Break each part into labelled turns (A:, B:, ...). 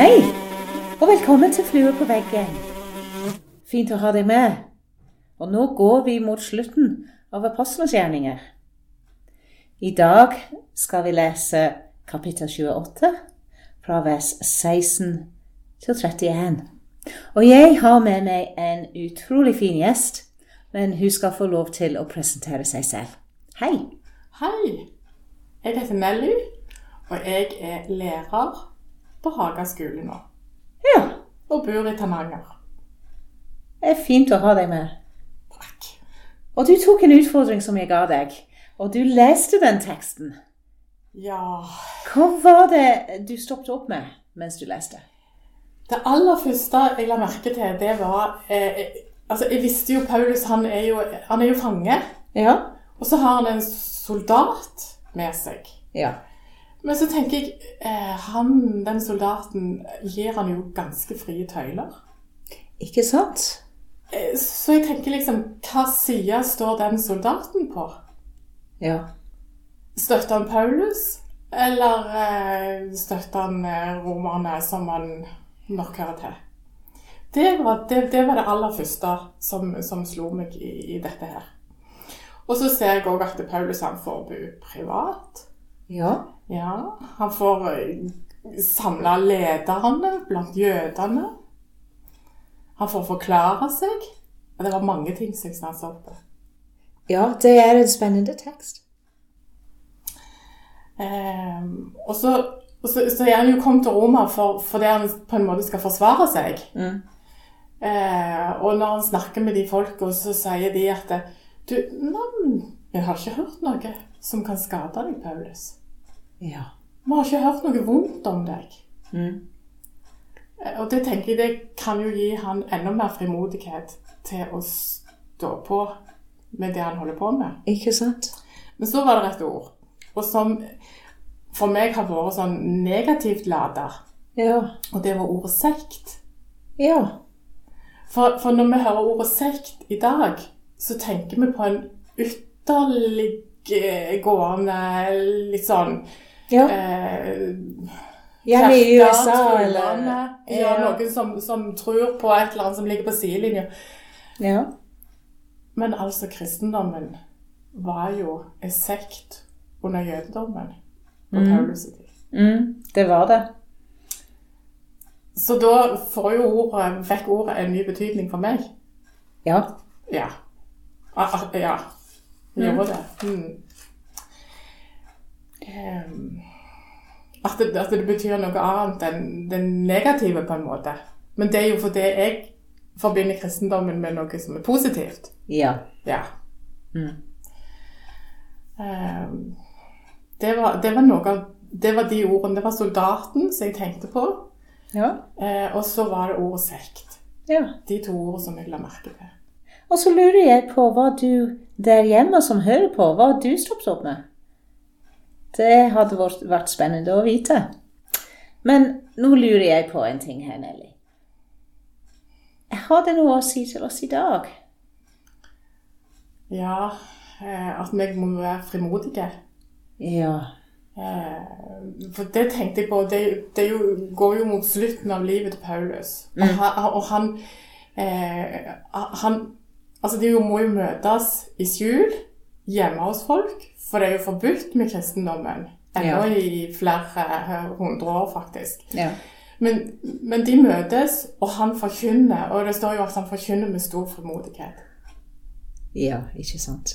A: Hei, og velkommen til Flue på veggen. Fint å ha deg med. Og nå går vi mot slutten av Apostlenes gjerninger. I dag skal vi lese kapittel 28, fra vers 16 til 31. Og jeg har med meg en utrolig fin gjest, men hun skal få lov til å presentere seg selv. Hei.
B: Hei, jeg heter Melly, og jeg er lærer på Haga skole nå.
A: Ja,
B: Og bor i Tananger.
A: det er fint å ha deg med.
B: Takk.
A: Og du tok en utfordring som jeg ga deg, og du leste den teksten.
B: Ja
A: Hva var det du stoppet opp med mens du leste?
B: Det aller første jeg la merke til, det var eh, eh, Altså, jeg visste jo Paulus, han er jo, han er jo fange.
A: Ja.
B: Og så har han en soldat med seg.
A: Ja.
B: Men så tenker jeg eh, han, Den soldaten gir han jo ganske frie tøyler.
A: Ikke sant?
B: Eh, så jeg tenker liksom Hva side står den soldaten på?
A: Ja.
B: Støtter han Paulus, eller eh, støtter han eh, romerne, som han nok hører til? Det var det, det, var det aller første som, som slo meg i, i dette her. Og så ser jeg òg at Paulus han får bo privat.
A: Ja.
B: Ja, Han får samla lederne blant jødene. Han får forklare seg. Ja, Det var mange ting som jeg stansa opp på.
A: Ja, det er en spennende tekst.
B: Ehm, og så, og så, så er han jo kommet til Roma for, fordi han på en måte skal forsvare seg.
A: Mm.
B: Eh, og når han snakker med de folka, så sier de at Du, nei, vi har ikke hørt noe som kan skade deg, Paulus.
A: Ja.
B: Vi har ikke hørt noe vondt om deg.
A: Mm.
B: Eh, og det tenker jeg det kan jo gi han enda mer frimodighet til å stå på med det han holder på med.
A: Ikke sant?
B: Men så var det et ord, og som for meg har vært sånn negativt lader.
A: Ja.
B: Og det var ordet sekt.
A: Ja.
B: For, for når vi hører ordet sekt i dag, så tenker vi på en ytterlig eh, gående litt sånn
A: Ja.
B: eh,
A: Hjemme i
B: kjerker,
A: USA eller
B: troende. Ja, noen som, som tror på et eller annet som ligger på sidelinja.
A: Ja.
B: Men altså, kristendommen var jo en sekt under jødedommen på
A: Mm.
B: Paulus' tid.
A: Mm. Det var det.
B: Så da får jo ordet, fikk ordet en ny betydning for meg.
A: Ja.
B: Ja. Ah, ah, ja. Gjorde det. Mm. Ehm, At det, at det betyr noe annet enn det negative, på en måte. Men det er jo fordi jeg forbinder kristendommen med noe som er positivt.
A: Ja.
B: Ja.
A: Mm.
B: Ehm, Det var, det var noe av Det var de ordene. Det var soldaten som jeg tenkte på.
A: Ja.
B: eh, Og så var det ordet sekt.
A: Ja.
B: De to ordene som jeg la merke til.
A: Og så lurer jeg på hva du der hjemme som hører på, hva du stoppet opp med. Det hadde vært vært spennende å vite. Men nå lurer jeg på en ting her, Nelly. Har det noe å si til oss i dag?
B: Ja, eh, at vi må være frimodige.
A: Ja.
B: Eh, For det tenkte jeg på, det, det er jo, går jo mot slutten av livet til Paulus. Og han, og han, eh, han Altså, de jo må jo møtes i skjul hjemme hos folk, for det er jo forbudt med kristendommen. Ennå i flere eh, hundre år, faktisk.
A: Ja.
B: Men, men de møtes, og han forkynner. Og det står jo at han forkynner med stor frimodighet.
A: ja ikke sant.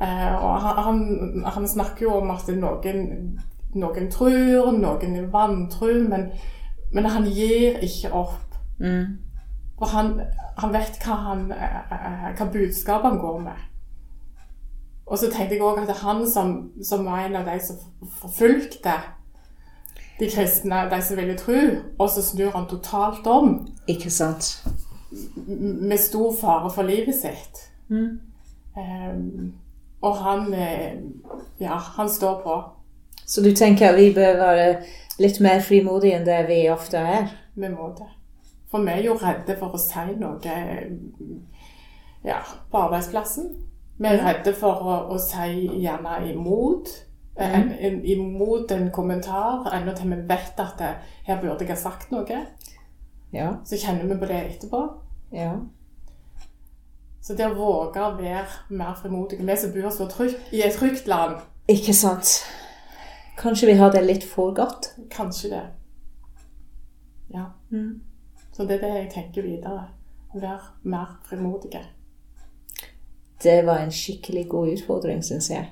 B: Eh, og han, han, han snakker jo om at noen, noen tror, noen er vantro, men, men han gir ikke opp.
A: Mm.
B: For han, han vet hva, han, eh, eh, hva budskapet han går med. Og så tenkte jeg òg at det er han som, som var en av de som forfulgte de kristne, de som ville tro, og så snur han totalt om
A: Ikke sant.
B: med stor fare for livet sitt.
A: Mm.
B: Ehm, og han eh, Ja, han står på.
A: Så du tenker vi bør være litt mer frimodige enn det vi ofte er?
B: Vi må det. For vi er jo redde for å si noe eh, ja, på arbeidsplassen. Vi er redde for å, å si gjerne imot. eh, en, en, imot en kommentar, enda til vi vet at det, her burde jeg ha sagt noe.
A: Ja.
B: Så kjenner vi på det etterpå.
A: ja.
B: Så det å våge å være mer frimodige Vi som bor så trygt i et trygt land,
A: Ikke sant. Kanskje vi har det litt for godt.
B: kanskje det. Ja. Så det er det jeg tenker videre. Vær mer frimodige.
A: Det var en skikkelig god utfordring, syns jeg.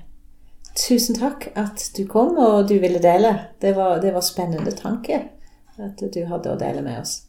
A: Tusen takk at du kom og du ville dele. Det var, det var spennende tanke at du hadde å dele med oss.